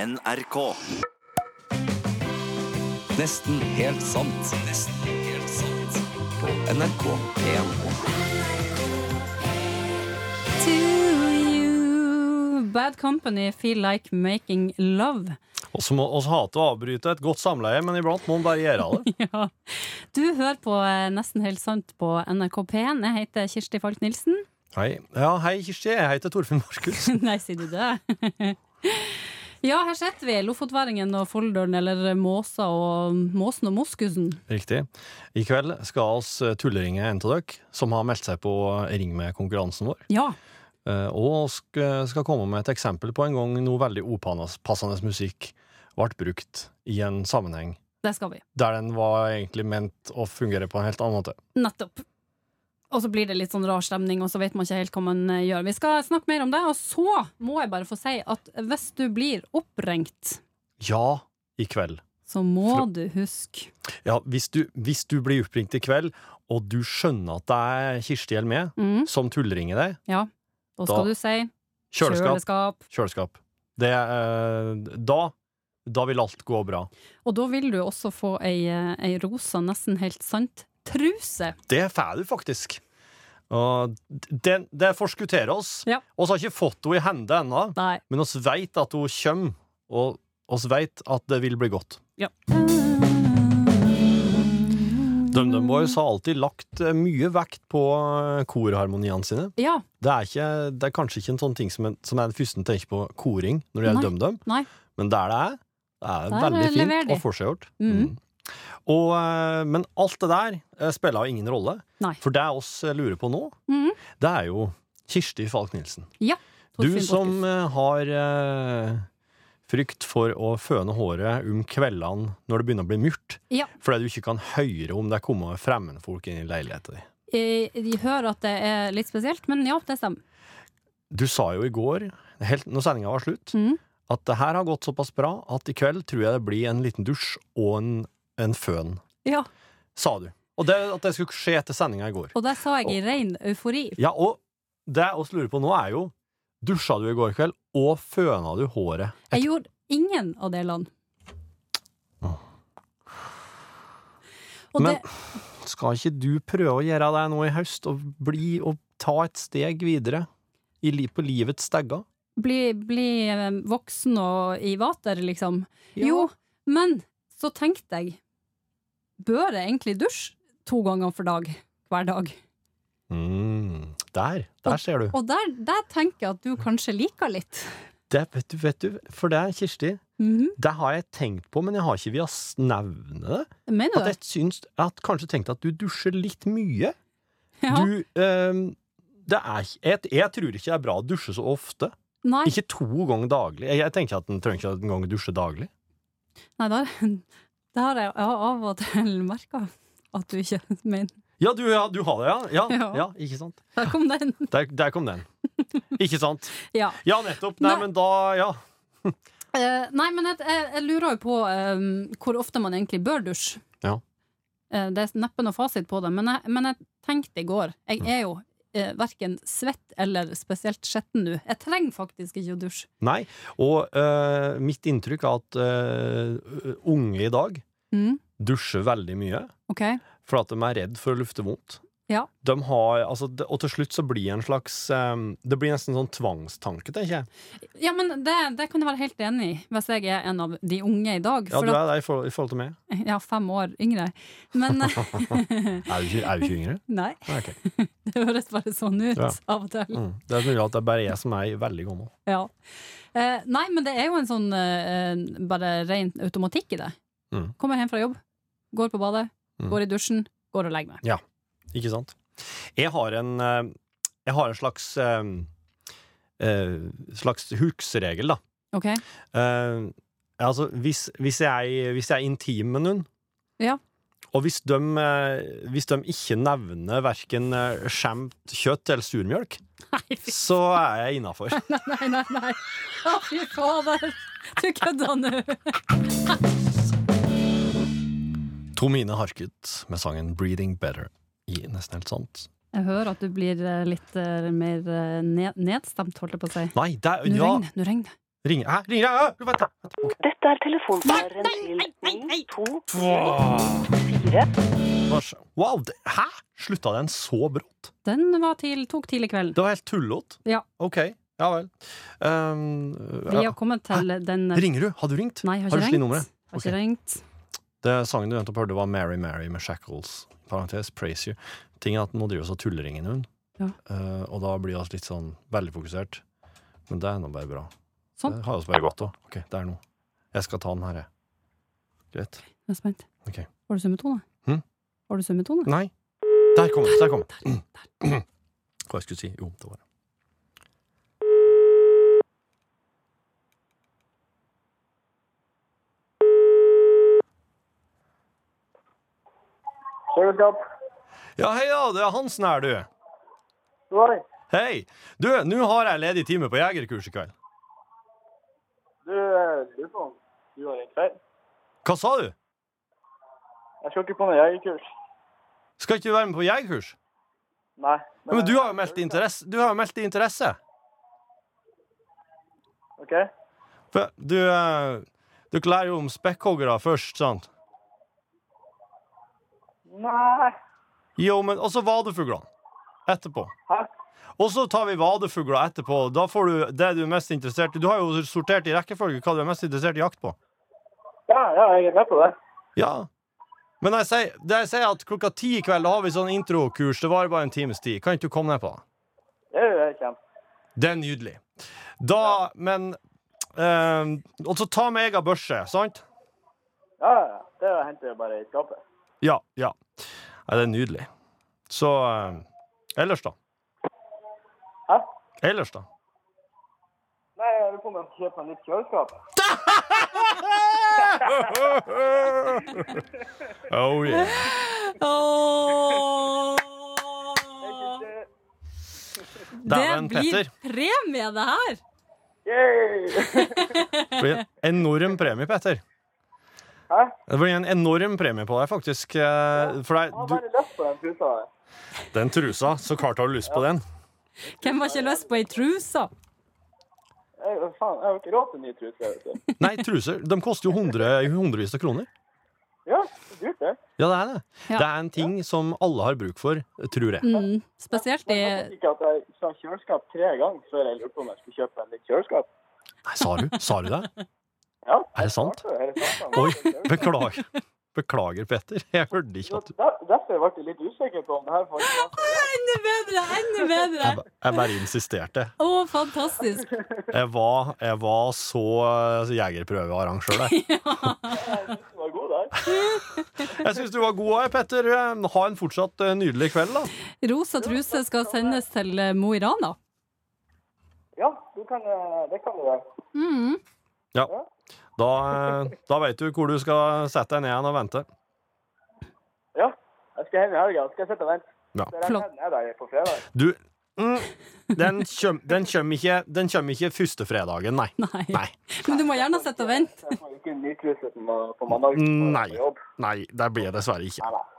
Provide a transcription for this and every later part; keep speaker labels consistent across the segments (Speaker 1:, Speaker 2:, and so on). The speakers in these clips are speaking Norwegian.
Speaker 1: NRK.
Speaker 2: Nesten helt sant. Nesten helt sant. På NRK P1.
Speaker 3: to you. Bad Company feel like making love.
Speaker 4: Og så må oss hate å avbryte et godt samleie, men iblant må man bare gjøre det.
Speaker 3: Ja. Du hører på eh, Nesten helt sant på NRK P1. Jeg heter Kirsti Falk Nilsen.
Speaker 4: Hei. Ja, hei, Kirsti. Jeg heter Torfinn Markus.
Speaker 3: Nei, sier du det? ja, her sitter vi. Lofotværingen og Folldølen, eller Måsa og Måsen og Moskusen.
Speaker 4: Riktig. I kveld skal oss eh, tulleringe en av dere som har meldt seg på eh, Ring med-konkurransen vår.
Speaker 3: Ja.
Speaker 4: Eh, Og sk- skal komme med et eksempel på en gang noe veldig opassende musikk ble brukt i en sammenheng
Speaker 3: Det skal vi.
Speaker 4: der den var egentlig ment å fungere på en helt annen måte.
Speaker 3: Nettopp. Og så blir det litt sånn rar stemning, og så vet man ikke helt hva man eh, gjør. Vi skal snakke mer om det, og så må jeg bare få si at hvis du blir oppringt,
Speaker 4: Ja, i kveld.
Speaker 3: så må
Speaker 4: Flo-
Speaker 3: du huske
Speaker 4: Ja, hvis du, hvis du blir oppringt i kveld, og du skjønner at det er Kirsti eller meg
Speaker 3: mm.
Speaker 4: som tulleringer deg,
Speaker 3: Ja. Da skal
Speaker 4: Da-
Speaker 3: du si
Speaker 4: kjøleskap,
Speaker 3: kjøleskap.
Speaker 4: Kjøleskap. Det, eh, da, da vil alt gå bra.
Speaker 3: Og da vil du også få ei, eh, ei rosa, nesten helt sant, truse.
Speaker 4: Det får du faktisk. Og det, det forskutterer oss. Vi
Speaker 3: Ja.
Speaker 4: har ikke fått henne i hende ennå,
Speaker 3: Nei.
Speaker 4: men oss veit at hun kommer, og oss veit at det vil bli godt.
Speaker 3: Ja.
Speaker 4: DumDum Boys har alltid lagt eh, mye vekt på eh, korharmoniene sine.
Speaker 3: Ja.
Speaker 4: Det er, ikke, det er kanskje ikke en sånn ting som, en, som er den første en tenker på koring når det gjelder DumDum.
Speaker 3: Nei.
Speaker 4: Men der det er, det er
Speaker 3: Der
Speaker 4: veldig
Speaker 3: leverer
Speaker 4: fint
Speaker 3: de.
Speaker 4: og forseggjort.
Speaker 3: Mhm.
Speaker 4: Mm. Og, eh, men alt det der eh, spiller jo ingen rolle.
Speaker 3: Nei.
Speaker 4: For det oss eh, lurer på nå,
Speaker 3: Mhm.
Speaker 4: det er jo Kirsti Falk Nilsen.
Speaker 3: Ja.
Speaker 4: Du
Speaker 3: Torfinn
Speaker 4: som
Speaker 3: Borchhus.
Speaker 4: eh, har eh, frykt for å føne håret om kveldene når det begynner å bli mørkt,
Speaker 3: Ja.
Speaker 4: fordi du ikke kan høre om det kommer fremmedfolk inn i leiligheten din.
Speaker 3: Eh, De hører at det er litt spesielt, men ja, det stemmer.
Speaker 4: Du sa jo i går, helt når sendinga var slutt,
Speaker 3: Mhm.
Speaker 4: at det her har gått såpass bra at i kveld tror jeg det blir en liten dusj og en, en føn,
Speaker 3: Ja.
Speaker 4: sa du. Og det, at det skulle skje etter sendinga i går.
Speaker 3: Og det sa jeg i ren eufori.
Speaker 4: Ja, og det oss lurer på nå er jo Dusja du i går kveld, og føna du håret?
Speaker 3: Jeg gjorde ingen av delene.
Speaker 4: Åh.
Speaker 3: Og
Speaker 4: Men
Speaker 3: det,
Speaker 4: skal ikke du prøve å gjøre det nå i høst, og bli og ta et steg videre i, li- på livets stegger?
Speaker 3: bli, bli eh, voksen og i vater, liksom. Jo, men så tenkte jeg Bør jeg egentlig dusje to ganger for dag? Hver dag.
Speaker 4: Mm, der, der ser du.
Speaker 3: Og der, der tenker jeg at du kanskje liker litt.
Speaker 4: Det, vet du. Vet du, for det, Kirsti,
Speaker 3: Mhm.
Speaker 4: det har jeg tenkt på, men jeg har ikke villet nevne det.
Speaker 3: Mener du
Speaker 4: At
Speaker 3: det?
Speaker 4: jeg syns Jeg har kanskje tenkt at du dusjer litt mye.
Speaker 3: Ja.
Speaker 4: Du ehm, det er, ikke- jeg, jeg tror ikke det er bra å dusje så ofte.
Speaker 3: Nei,
Speaker 4: Ikke to ganger daglig. Jeg, jeg tenker at en trenger ikke engang dusje daglig.
Speaker 3: nei der, det har jeg av og til merka at du ikke mener.
Speaker 4: Ja, du, ja, du har det, ja. Ja,
Speaker 3: Ja.
Speaker 4: ja ikke sant?
Speaker 3: Der kom den.
Speaker 4: Der, der kom den. Ikke sant?
Speaker 3: Ja.
Speaker 4: Ja, nettopp. Nei,
Speaker 3: Nei.
Speaker 4: men da Ja.
Speaker 3: Eh, nei, men jeg, jeg, jeg lurer jo på eh, hvor ofte man egentlig bør dusje.
Speaker 4: Ja.
Speaker 3: Eh, det er neppe noe fasit på det, men jeg, men jeg tenkte i går Jeg
Speaker 4: Mm.
Speaker 3: er jo uh, verken svett eller spesielt skjetten nå. Jeg trenger faktisk ikke å dusje.
Speaker 4: Nei. Og eh, mitt inntrykk er at eh, unge i dag
Speaker 3: Mm,
Speaker 4: dusjer veldig mye
Speaker 3: ok,
Speaker 4: for at de er redd for å lufte vondt.
Speaker 3: Ja.
Speaker 4: De har, altså, det- og til slutt så blir det en slags eh, Det blir nesten en sånn tvangstanke, tenker jeg.
Speaker 3: Ja, men det, det kan jeg være helt enig i, hvis jeg er en av de unge i dag.
Speaker 4: Ja,
Speaker 3: For
Speaker 4: du er det i forhold, i forhold til meg.
Speaker 3: at jeg er fem år yngre. Men
Speaker 4: Er du ikke, er du ikke yngre?
Speaker 3: Nei,
Speaker 4: Nei, ok.
Speaker 3: det høres bare sånn ut
Speaker 4: Ja.
Speaker 3: av og til.
Speaker 4: Mm. Det er mulig at det er bare jeg som er veldig gammel.
Speaker 3: Ja. Eh, nei, men det er jo en sånn eh, eh, bare ren automatikk i det.
Speaker 4: Mm.
Speaker 3: Kommer hjem fra jobb, går på badet,
Speaker 4: Mm.
Speaker 3: går i dusjen, går og legger meg.
Speaker 4: Ikke sant? Jeg har en, eh, jeg har en slags eh, eh, Slags huskeregel, da.
Speaker 3: Ok?
Speaker 4: Eh, altså, hvis, hvis, jeg, hvis jeg er intim med noen
Speaker 3: Ja.
Speaker 4: Og hvis de, eh, hvis de ikke nevner verken eh, skjemt kjøtt eller surmjølk,
Speaker 3: Nei, fy,
Speaker 4: så er jeg innafor.
Speaker 3: nei, nei. nei. Å, fy fader! Du kødder nå!
Speaker 4: Tomine Harket med sangen 'Breathing Better' i Nesten helt sant.
Speaker 3: Jeg hører at du blir eh, litt eh, mer eh, ned, nedstemt, holdt jeg på å si.
Speaker 4: Nei, det er
Speaker 3: Nå
Speaker 4: ja,
Speaker 3: regner det, nå regner det.
Speaker 4: Ring Hæ? Ringer jeg? Hæ? Vent, da.
Speaker 1: Dette er telefonsvareren til 92
Speaker 4: Hva skje- Wow, det, hæ? Slutta den så brått?
Speaker 3: Den var til, tok tidlig kvelden.
Speaker 4: Det var helt tullete.
Speaker 3: Ja.
Speaker 4: OK. Ja vel. Ehm,
Speaker 3: Vi
Speaker 4: ja.
Speaker 3: har kommet til den eh,
Speaker 4: Ringer du? Har du ringt?
Speaker 3: Nei, jeg
Speaker 4: Har
Speaker 3: har
Speaker 4: du
Speaker 3: ikke
Speaker 4: slitt
Speaker 3: ringt.
Speaker 4: nummeret?
Speaker 3: Har ikke ringt.
Speaker 4: Det Sangen du nettopp hørte, var Mary Mary med Shackles. Parentes, praise you. Ting er at Nå driver vi og tulleringer, hun.
Speaker 3: Ja.
Speaker 4: Eh, og da blir vi litt sånn veldig fokusert. Men det er nå bare bra.
Speaker 3: Sånn.
Speaker 4: Det har vi bare godt òg. OK, det er noe. Jeg skal ta den her, jeg. Greit.
Speaker 3: Jeg er spent.
Speaker 4: Ok.
Speaker 3: Har du summetone?
Speaker 4: Hm?
Speaker 3: Har du summetone?
Speaker 4: Nei. Der kom den. Der kom den. Hva jeg skulle si? Jo, det var det.
Speaker 5: Hold opp.
Speaker 4: Ja, hei da, det er Hansen her, du.
Speaker 5: Oi,
Speaker 4: Hei! Du, nå har jeg ledig time på jegerkurs i kveld.
Speaker 5: du eh, lurer på om du har en kveld.
Speaker 4: Hva sa du?
Speaker 5: Jeg skal ikke på noe jegerkurs.
Speaker 4: Skal ikke du være med på jegerkurs?
Speaker 5: Nei.
Speaker 4: Ja, men du har jo meldt interesse. Du har jo meldt interesse.
Speaker 5: OK?
Speaker 4: For du eh, Dere lærer jo om spekkhoggere først, sant?
Speaker 5: Nei.
Speaker 4: Jo, men Og så vadefuglene. Etterpå.
Speaker 5: Hæ?
Speaker 4: Og så tar vi vadefugler etterpå. Da får du det du er mest interessert i. Du har jo sortert i rekkefølge hva du er mest interessert i jakt på.
Speaker 5: Ja, ja, jeg er med på det.
Speaker 4: Ja. Men jeg sier, det jeg sier at klokka ti i kveld da har vi sånn introkurs. Det varer bare en times tid. Kan ikke du komme ned på det?
Speaker 5: Det er jo helt kjent.
Speaker 4: Det er nydelig. Da, men eh, Og så ta med egen børse, sant?
Speaker 5: Ja, ja, ja. Det henter jeg bare i skapet.
Speaker 4: Ja. ja. Nei, det er nydelig. Så eh, Ellers, da?
Speaker 5: Hæ?
Speaker 4: Ellers, da?
Speaker 5: Nei, jeg lurer på om jeg må kjøpe meg nytt kjøleskap.
Speaker 4: Oh yeah.
Speaker 5: Det-
Speaker 4: Dæven,
Speaker 3: det blir
Speaker 4: Petter.
Speaker 3: premie, det her!
Speaker 5: Yay!
Speaker 4: Det blir en enorm premie, Petter.
Speaker 5: Hæ?
Speaker 4: Det blir en enorm premie på deg, faktisk. eh, For
Speaker 5: Jeg har
Speaker 4: deg,
Speaker 5: bare lyst på den trusa. der.
Speaker 4: du, den trusa, så klart har du lyst på den.
Speaker 3: Hvem har ikke lyst på ei truse?
Speaker 5: Jeg, hva faen, jeg har ikke råd til en ny truse. vet du.
Speaker 4: Nei, truser de koster jo hundre, hundrevis av kroner.
Speaker 5: Ja, det er dyrt, det.
Speaker 4: Ja, det er det.
Speaker 3: Ja.
Speaker 4: Det er en ting som alle har bruk for, tror jeg.
Speaker 3: Mm, spesielt i
Speaker 5: Men Jeg vet ikke at jeg sa kjøleskap tre ganger før jeg lurte på om jeg skulle kjøpe meg nytt kjøleskap.
Speaker 4: Nei, sa du? Sa du det?
Speaker 5: Ja,
Speaker 4: Er det sant?
Speaker 5: Er det sant?
Speaker 4: Oi, beklager. Beklager, Petter. Jeg hørte ikke
Speaker 5: Så
Speaker 4: at du
Speaker 5: der, derfor ble jeg litt usikker på om det her faktisk var så bra.
Speaker 3: Enda bedre! Enda bedre!
Speaker 4: Jeg, ba- jeg bare insisterte.
Speaker 3: Å, fantastisk!
Speaker 4: Jeg var, jeg var så eh, jegerprøvearrangør der.
Speaker 5: Den var god der.
Speaker 4: Jeg syns du var god òg, Petter. Eh, Ha en fortsatt eh, nydelig kveld, da.
Speaker 3: Rosa truse skal sendes til eh, Mo i Rana.
Speaker 5: Ja, du kan, eh, det kan du gjøre.
Speaker 3: Mm.
Speaker 4: Da, eh, da veit du hvor du skal sette deg ned igjen og vente.
Speaker 5: Ja, jeg skal hjem i helga. Skal jeg sitte og vente?
Speaker 4: Ja.
Speaker 5: Det regner
Speaker 3: Flott.
Speaker 5: jeg ned der på fredag.
Speaker 4: Du mm, Den kommer ikke, den kjøm ikke første fredagen, nei.
Speaker 3: Nei.
Speaker 4: Nei.
Speaker 3: Men du må gjerne sitte og vente.
Speaker 5: Så Jeg får ikke en ny truse på ma- på mandag.
Speaker 4: Nei.
Speaker 5: På jobb.
Speaker 4: Nei, det blir jeg dessverre ikke.
Speaker 5: Nei, nei.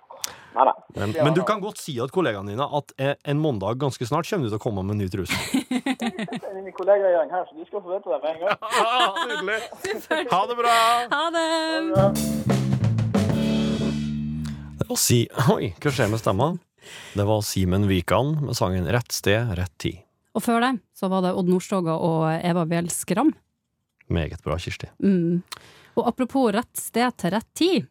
Speaker 5: Nei, nei.
Speaker 4: Men, men du kan godt si til kollegaene dine at eh, en mandag ganske snart kommer du til å komme med en ny truse.
Speaker 5: Det er mine kollegaer i gang her, så de skal få vite det med en gang.
Speaker 4: Ah, nydelig. Ha det bra!
Speaker 3: Ha det!
Speaker 4: Å si Oi, hva skjer med stemma? Det var Simen Wikan med sangen 'Rett sted, rett tid'.
Speaker 3: Og før det så var det Odd Nordstoga og Eva Bjell Skram.
Speaker 4: Meget bra, Kirsti.
Speaker 3: Mm. Og apropos rett sted til rett tid.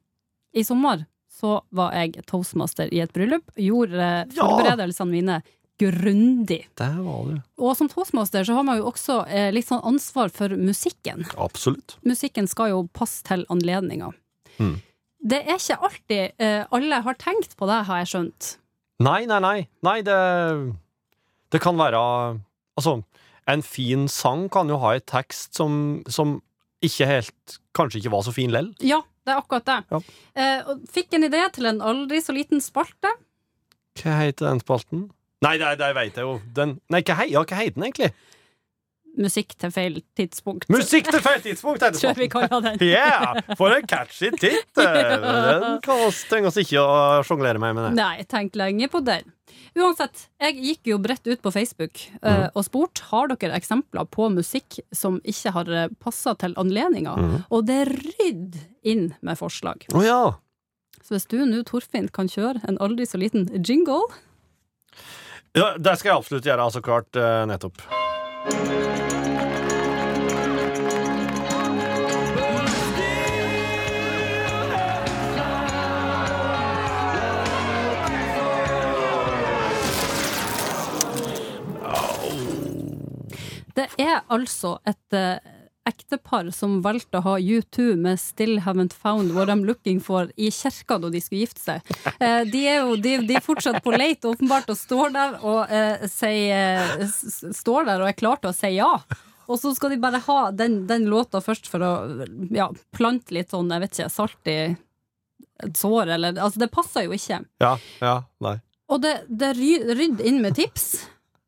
Speaker 3: I sommer så var jeg toastmaster i et bryllup. Gjorde eh,
Speaker 4: Ja!
Speaker 3: forberedelsene mine grundig.
Speaker 4: Der var du.
Speaker 3: Og som toastmaster så har man jo også eh, litt sånn ansvar for musikken.
Speaker 4: Absolutt.
Speaker 3: musikken skal jo passe til anledninga.
Speaker 4: Mm.
Speaker 3: Det er ikke alltid eh, alle har tenkt på det, har jeg skjønt.
Speaker 4: Nei, nei, nei. Nei, det Det kan være Altså, en fin sang kan jo ha en tekst som, som ikke helt Kanskje ikke var så fin lell.
Speaker 3: Ja, det er akkurat det.
Speaker 4: Ja.
Speaker 3: Eh, og fikk en idé til en aldri så liten spalte.
Speaker 4: Hva heter den spalten? Nei, der, der veit jeg jo den Nei, hva, hei, ja, hva heter den egentlig?
Speaker 3: musikk til feil tidspunkt.
Speaker 4: Musikk til feil tidspunkt, er det
Speaker 3: Tror jeg vi
Speaker 4: sånn.
Speaker 3: kaller den.
Speaker 4: Yeah! For en catchy tittel! Den kan oss, trenger oss ikke å sjonglere med. med det.
Speaker 3: Nei, tenk lenge på den. Uansett, jeg gikk jo bredt ut på Facebook eh, og spurt har dere eksempler på musikk som ikke har passa til anledninga. Og det rydd inn med forslag.
Speaker 4: Å ja.
Speaker 3: Så hvis du nå, Torfinn, kan kjøre en aldri så liten jingle
Speaker 4: ja! Det skal jeg absolutt gjøre, altså klart. eh, Nettopp.
Speaker 3: Det er altså et eh, ektepar som valgte å ha U2 med 'Still Haven't Found What I'm Looking For' i kirka da de skulle gifte seg. Eh, de er jo de, de er fortsatt på leit, åpenbart, og står der og, eh, sier, eh, s- s- står der og er klar til å si ja. Og så skal de bare ha den, den låta først for å ja, plante litt sånn, jeg vet ikke, salt i et sår, eller Altså, det passer jo ikke.
Speaker 4: Ja. ja, Nei.
Speaker 3: Og det, det ry- rydd inn med tips.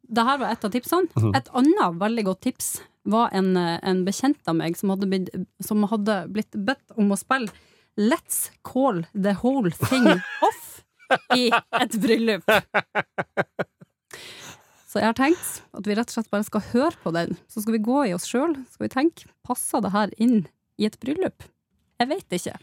Speaker 3: Dette var et av tipsene. Et annet veldig godt tips var en, eh, en bekjent av meg som hadde, blitt, som hadde blitt bedt om å spille Let's Call The Whole Thing Off i et bryllup. Så jeg har tenkt at vi rett og slett bare skal høre på den. Så skal vi gå i oss sjøl skal vi tenke passer det her inn i et bryllup. Jeg veit ikke.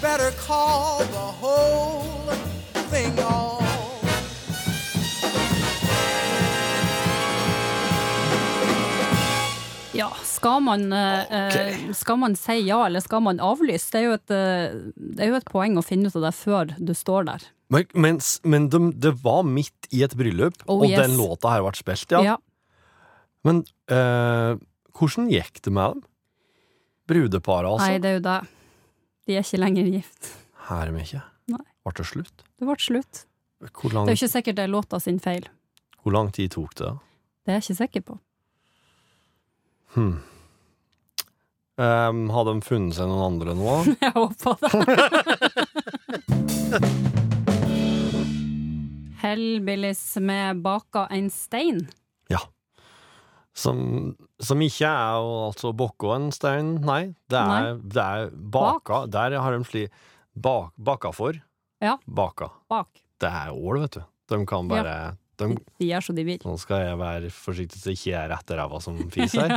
Speaker 6: better call the whole thing off.
Speaker 3: Ja, skal man, eh, eh, skal man si ja, eller skal man avlyse? Det er, jo et, eh, det er jo et poeng å finne ut av det før du står der.
Speaker 4: Men, men, s- men de, det var midt i et bryllup,
Speaker 3: Oh,
Speaker 4: og
Speaker 3: yes.
Speaker 4: den låta her ble spilt, ja. Men eh, hvordan gikk det med dem? Brudeparet, altså?
Speaker 3: Nei, det er jo det. De er ikke lenger gift.
Speaker 4: Her er vi ikke.
Speaker 3: Nei.
Speaker 4: Ble det slutt?
Speaker 3: Det ble slutt.
Speaker 4: Hvor
Speaker 3: Det
Speaker 4: lang,
Speaker 3: er jo ikke sikkert det er låta sin feil.
Speaker 4: hvor lang tid tok det? da?
Speaker 3: Det er jeg ikke sikker på.
Speaker 4: Hmm. Ehm, hadde de funnet seg noen andre nå?
Speaker 3: Jeg håper det. Hellbillies med Baka en stein.
Speaker 4: Som, som ikke er å altså bokke en stein, nei. Det er, det er baka. Der har de sli bak, baka for.
Speaker 3: Ja.
Speaker 4: Baka.
Speaker 3: Bak.
Speaker 4: Det er ål, vet du. De kan bare de,
Speaker 3: De gjør som de vil.
Speaker 4: Nå skal jeg være forsiktig så ikke jeg er etter ræva som fis her.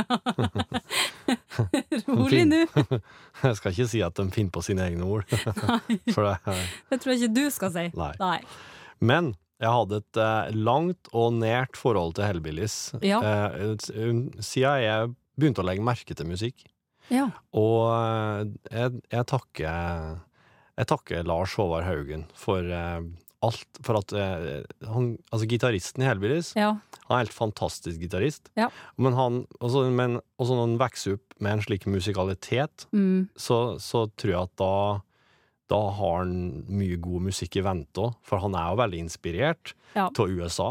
Speaker 3: Rolig nå.
Speaker 4: Jeg skal ikke si at de finner på sine egne ord. For det er
Speaker 3: Det tror jeg ikke du skal si.
Speaker 4: Nei.
Speaker 3: Nei.
Speaker 4: Men jeg hadde et eh, langt og nært forhold til Hellbillies
Speaker 3: Ja.
Speaker 4: eh, s- um, siden jeg begynte å legge merke til musikk.
Speaker 3: Ja.
Speaker 4: Og eh, jeg, jeg takker Jeg takker Lars Håvard Haugen for eh, alt. For at eh, han, altså gitaristen i Hellbillies
Speaker 3: ja.
Speaker 4: Han er helt fantastisk gitarist.
Speaker 3: Ja.
Speaker 4: Men han også, men, også når han vokser opp med en slik musikalitet,
Speaker 3: Mm.
Speaker 4: så, så tror jeg at da da har han mye god musikk i vente òg, for han er jo veldig inspirert
Speaker 3: Ja.
Speaker 4: av USA.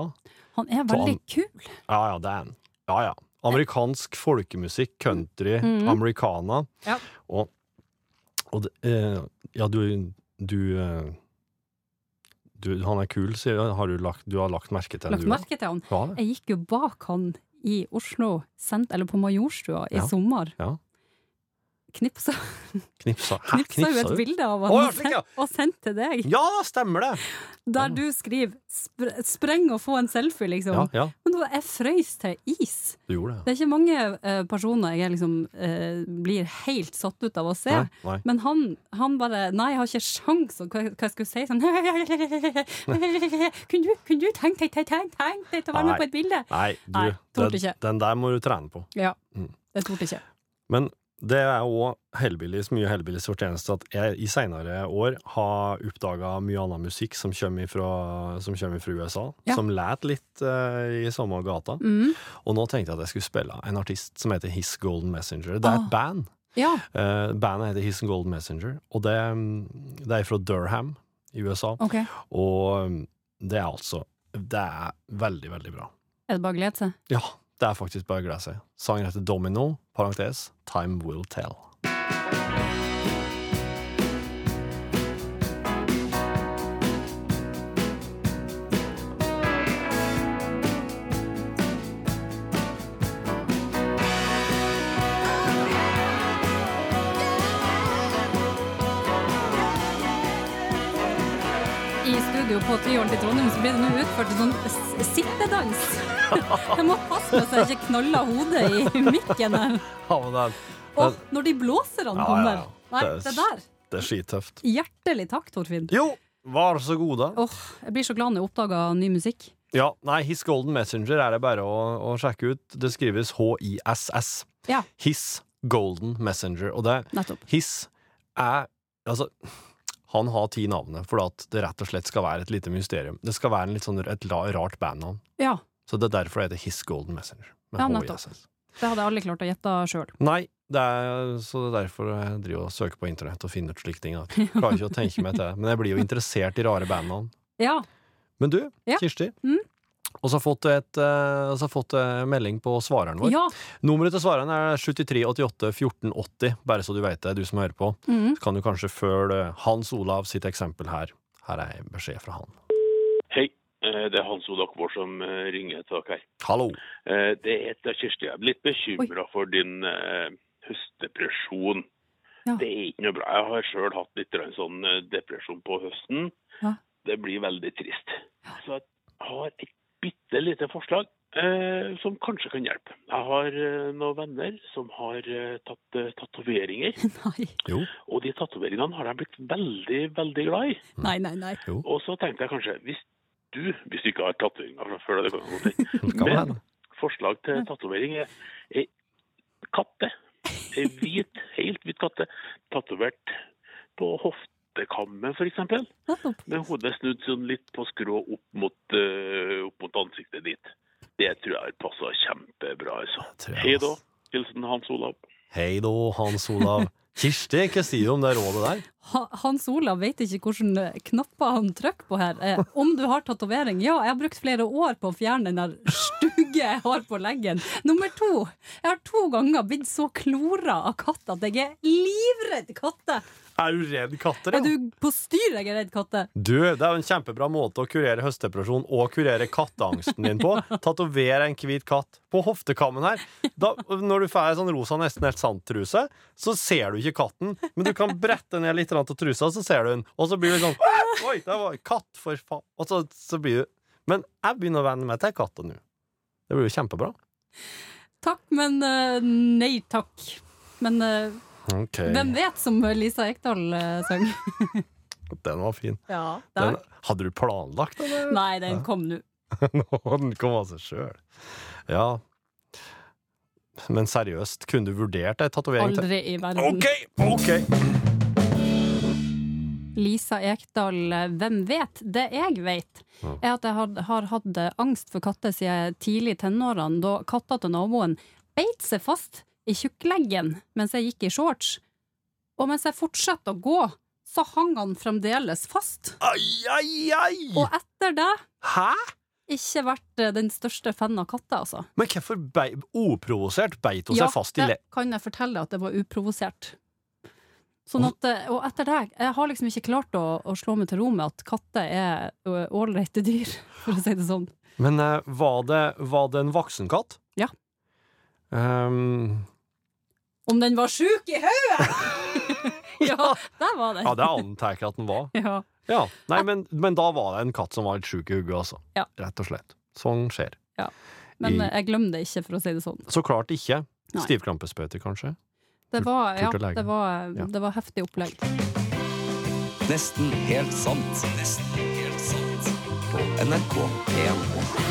Speaker 3: Han er veldig kul.
Speaker 4: Ja, ja, det er han. Ja, ja. Amerikansk folkemusikk, country, americana.
Speaker 3: Mhm. Ja.
Speaker 4: Og, og det, eh, ja, du, du, eh, du Han er kul, sier du. Har du, lagt, du har lagt merke til
Speaker 3: Lagt
Speaker 4: han,
Speaker 3: merke til han.
Speaker 4: du? òg? Ja, det.
Speaker 3: Jeg gikk jo bak han i Oslo, sent, eller på Majorstua, i
Speaker 4: Ja.
Speaker 3: sommer.
Speaker 4: Ja.
Speaker 3: Knipsa,
Speaker 4: Knipsa. Hæ,
Speaker 3: knipsa jo et
Speaker 4: du?
Speaker 3: bilde av han
Speaker 4: Å, ja,
Speaker 3: og
Speaker 4: slik,
Speaker 3: sen-
Speaker 4: ja.
Speaker 3: og sendte til deg,
Speaker 4: Ja, stemmer det!
Speaker 3: der du skriver spr 'spreng og få en selfie', liksom.
Speaker 4: Ja, ja,
Speaker 3: Men da jeg frøys til is.
Speaker 4: du gjorde det.
Speaker 3: Det er ikke mange eh, personer jeg liksom eh, blir helt satt ut av å se.
Speaker 4: Nei, nei.
Speaker 3: Men han, han bare Nei, jeg har ikke sjans og hva, hva jeg skulle si. Sånn Kunne du, kunne du tenkt deg tenkt deg tenkt deg til å være med
Speaker 4: Nei.
Speaker 3: på et bilde?
Speaker 4: Nei, du,
Speaker 3: Nei, torde
Speaker 4: den,
Speaker 3: ikke.
Speaker 4: den der må du trene på.
Speaker 3: Ja.
Speaker 4: Mm.
Speaker 3: Det torde ikke.
Speaker 4: Men det er òg Hellbillies, mye Hellbillies fortjeneste at jeg i seinere år har oppdaga mye annen musikk som kommer ifra, som kommer ifra USA,
Speaker 3: Ja.
Speaker 4: som læt litt eh, i samme gata.
Speaker 3: Mm.
Speaker 4: Og nå tenkte jeg at jeg skulle spille en artist som heter His Golden Messenger. Det er
Speaker 3: Ah.
Speaker 4: et band.
Speaker 3: Ja.
Speaker 4: Eh, bandet heter His Golden Messenger, og det, det er fra Durham i USA.
Speaker 3: Ok.
Speaker 4: Og um, det er altså Det er veldig, veldig bra.
Speaker 3: Er det bare å glede seg?
Speaker 4: Ja, det er faktisk bare å glede seg. Sangen heter Domino, parentes, Time Will Tell.
Speaker 3: jo på Tyholt i Trondheim, så ble det nå utført en sånn s- sittedans. Jeg må passe meg så jeg ikke knaller hodet i mikken her.
Speaker 4: Ja, men det,
Speaker 3: Og når de blåserne
Speaker 4: Ja,
Speaker 3: kommer.
Speaker 4: ja, ja.
Speaker 3: Nei,
Speaker 4: Det er
Speaker 3: det der.
Speaker 4: er- det er skitøft.
Speaker 3: Hjertelig takk, Torfinn.
Speaker 4: Jo, vær så god, da.
Speaker 3: Åh, Jeg blir så glad når jeg oppdager ny musikk.
Speaker 4: Ja, nei, His Golden Messenger er det bare å, å sjekke ut. Det skrives H-I-S-S.
Speaker 3: Ja.
Speaker 4: His Golden Messenger. Og det
Speaker 3: Nettopp.
Speaker 4: His er Altså, han har ti navne, for at det rett og slett skal være et lite mysterium. Det skal være en litt sånn, et la- rart bandnavn.
Speaker 3: Ja,
Speaker 4: Så det er derfor det heter His Golden Messenger. Med
Speaker 3: Ja, nettopp.
Speaker 4: H-I-S-S.
Speaker 3: det hadde jeg aldri klart å gjette sjøl.
Speaker 4: Nei, det er, så det er derfor jeg driver og søker på internett og finner ut slike ting. Da. Klarer ikke å tenke meg til det, men jeg blir jo interessert i rare bandnavn.
Speaker 3: Ja.
Speaker 4: Men du,
Speaker 3: Ja.
Speaker 4: Kirsti,
Speaker 3: Mm.
Speaker 4: og så har jeg fått, et, eh, også har jeg fått eh, melding på svareren vår.
Speaker 3: ja.
Speaker 4: Nummeret til svareren er 73881480, bare så du vet det, du som hører på.
Speaker 3: Mhm.
Speaker 4: Så kan du kanskje følge Hans Olav sitt eksempel her. Her er en beskjed fra han.
Speaker 7: Hei, eh, det er Hans Olav Kvaar som eh, ringer til dere. her.
Speaker 4: Hallo!
Speaker 7: Eh, Det er etter Kirsti. Jeg er litt bekymra for din eh, høstdepresjon.
Speaker 3: Ja.
Speaker 7: Det er ikke noe bra. Jeg har sjøl hatt litt grann sånn eh, depresjon på høsten.
Speaker 3: Ja.
Speaker 7: Det blir veldig trist. Så jeg har et bitte lite forslag eh, som kanskje kan hjelpe. Jeg har eh, noen venner som har eh, tatt eh, tatoveringer.
Speaker 3: Nei,
Speaker 4: Jo.
Speaker 7: Og de tatoveringene har de blitt veldig, veldig glad i.
Speaker 3: nei, nei. nei.
Speaker 4: Jo.
Speaker 7: Og så tenkte jeg kanskje, hvis du, hvis du ikke har tatoveringer fra før, det kan jeg godt tenke.
Speaker 4: Det kan
Speaker 7: Men-
Speaker 4: hende.
Speaker 7: forslag til tatovering er er katte. En hvit, helt hvit katte, tatovert på hoftekammen f.eks.
Speaker 3: Nettopp.
Speaker 7: Med hodet snudd sånn litt på skrå opp mot, eh, opp mot ansiktet ditt. Det tror jeg har passa kjempebra. altså.
Speaker 4: Tror jeg,
Speaker 7: Hei da.
Speaker 4: ass.
Speaker 7: Hilsen Hans Olav.
Speaker 4: Hei da, Hans Olav. Kirsti, hva sier du om det rådet der?
Speaker 3: Ha, Hans Olav vet ikke hvilke knapper han trykker på her. Eh, om du har tatovering? Ja, jeg har brukt flere år på å fjerne den der stygge jeg har på leggen. Nummer to. Jeg har to ganger blitt så klora av katt at jeg er livredd katter.
Speaker 4: Er du redd katter?
Speaker 3: Er du på styr jeg er redd katter?
Speaker 4: Du, det er jo en kjempebra måte å kurere høstdepresjon og kurere katteangsten din på. Tatovere en hvit katt på hoftekammen her. Da, når du får ei sånn rosa nesten helt sant-truse, så ser du ikke katten. Men du kan brette ned litt av trusa, så ser du den. Og så blir du sånn «Æ, Oi, der var katt, for faen. Og så, så blir du Men jeg begynner å venne meg til katter nå. Det blir jo kjempebra.
Speaker 3: Takk, men eh, nei takk. Men eh, hvem vet, som Lisa Ekdahl eh, sang.
Speaker 4: Den var fin.
Speaker 3: Ja,
Speaker 4: Den, hadde du planlagt den? eller?
Speaker 3: Nei, den kom nå.
Speaker 4: Nå, den kom av seg sjøl. Ja. Men seriøst, kunne du vurdert ei tatovering til?
Speaker 3: Aldri i verden.
Speaker 4: OK! ok
Speaker 3: Lisa Ekdahl, eh, hvem vet? Det jeg vet, er at jeg har, har hatt eh, angst for katter siden tidlig i tenårene, da katta til naboen beit seg fast i tjukkleggen mens jeg gikk i shorts. Og mens jeg fortsatte å gå, så hang han fremdeles fast.
Speaker 4: Ai, ai, ai!
Speaker 3: Og etter det
Speaker 4: Hæ?!
Speaker 3: ikke vært eh, den største fan av katter, altså.
Speaker 4: Men hvorfor bei, uprovosert beit hun seg fast i le...
Speaker 3: det kan jeg fortelle deg at det var uprovosert. Sånn at, eh, og etter det, jeg har liksom ikke klart å, å slå meg til ro med at katter er ø, ålreite dyr, for å si det sånn.
Speaker 4: Men eh, var, det, var det en voksen katt?
Speaker 3: Ja.
Speaker 4: Ehm,
Speaker 3: Om den var sjuk i hodet! ja, der var den.
Speaker 4: ja, det antar jeg ikke at den var.
Speaker 3: Ja.
Speaker 4: Ja, nei, men, men da var det en katt som var litt sjuk i hodet, altså.
Speaker 3: Ja.
Speaker 4: Rett og slett. Sånn skjer.
Speaker 3: Men
Speaker 4: I-
Speaker 3: eh, jeg glemmer det ikke, for å si det sånn.
Speaker 4: Så klart ikke.
Speaker 3: Nei.
Speaker 4: Stivkrampespøyter, kanskje.
Speaker 3: Det var, ja,
Speaker 4: Tur til legen.
Speaker 3: det var,
Speaker 4: Ja.
Speaker 3: det var heftig opplegg.
Speaker 2: Nesten helt sant. Nesten helt sant. På NRK P1.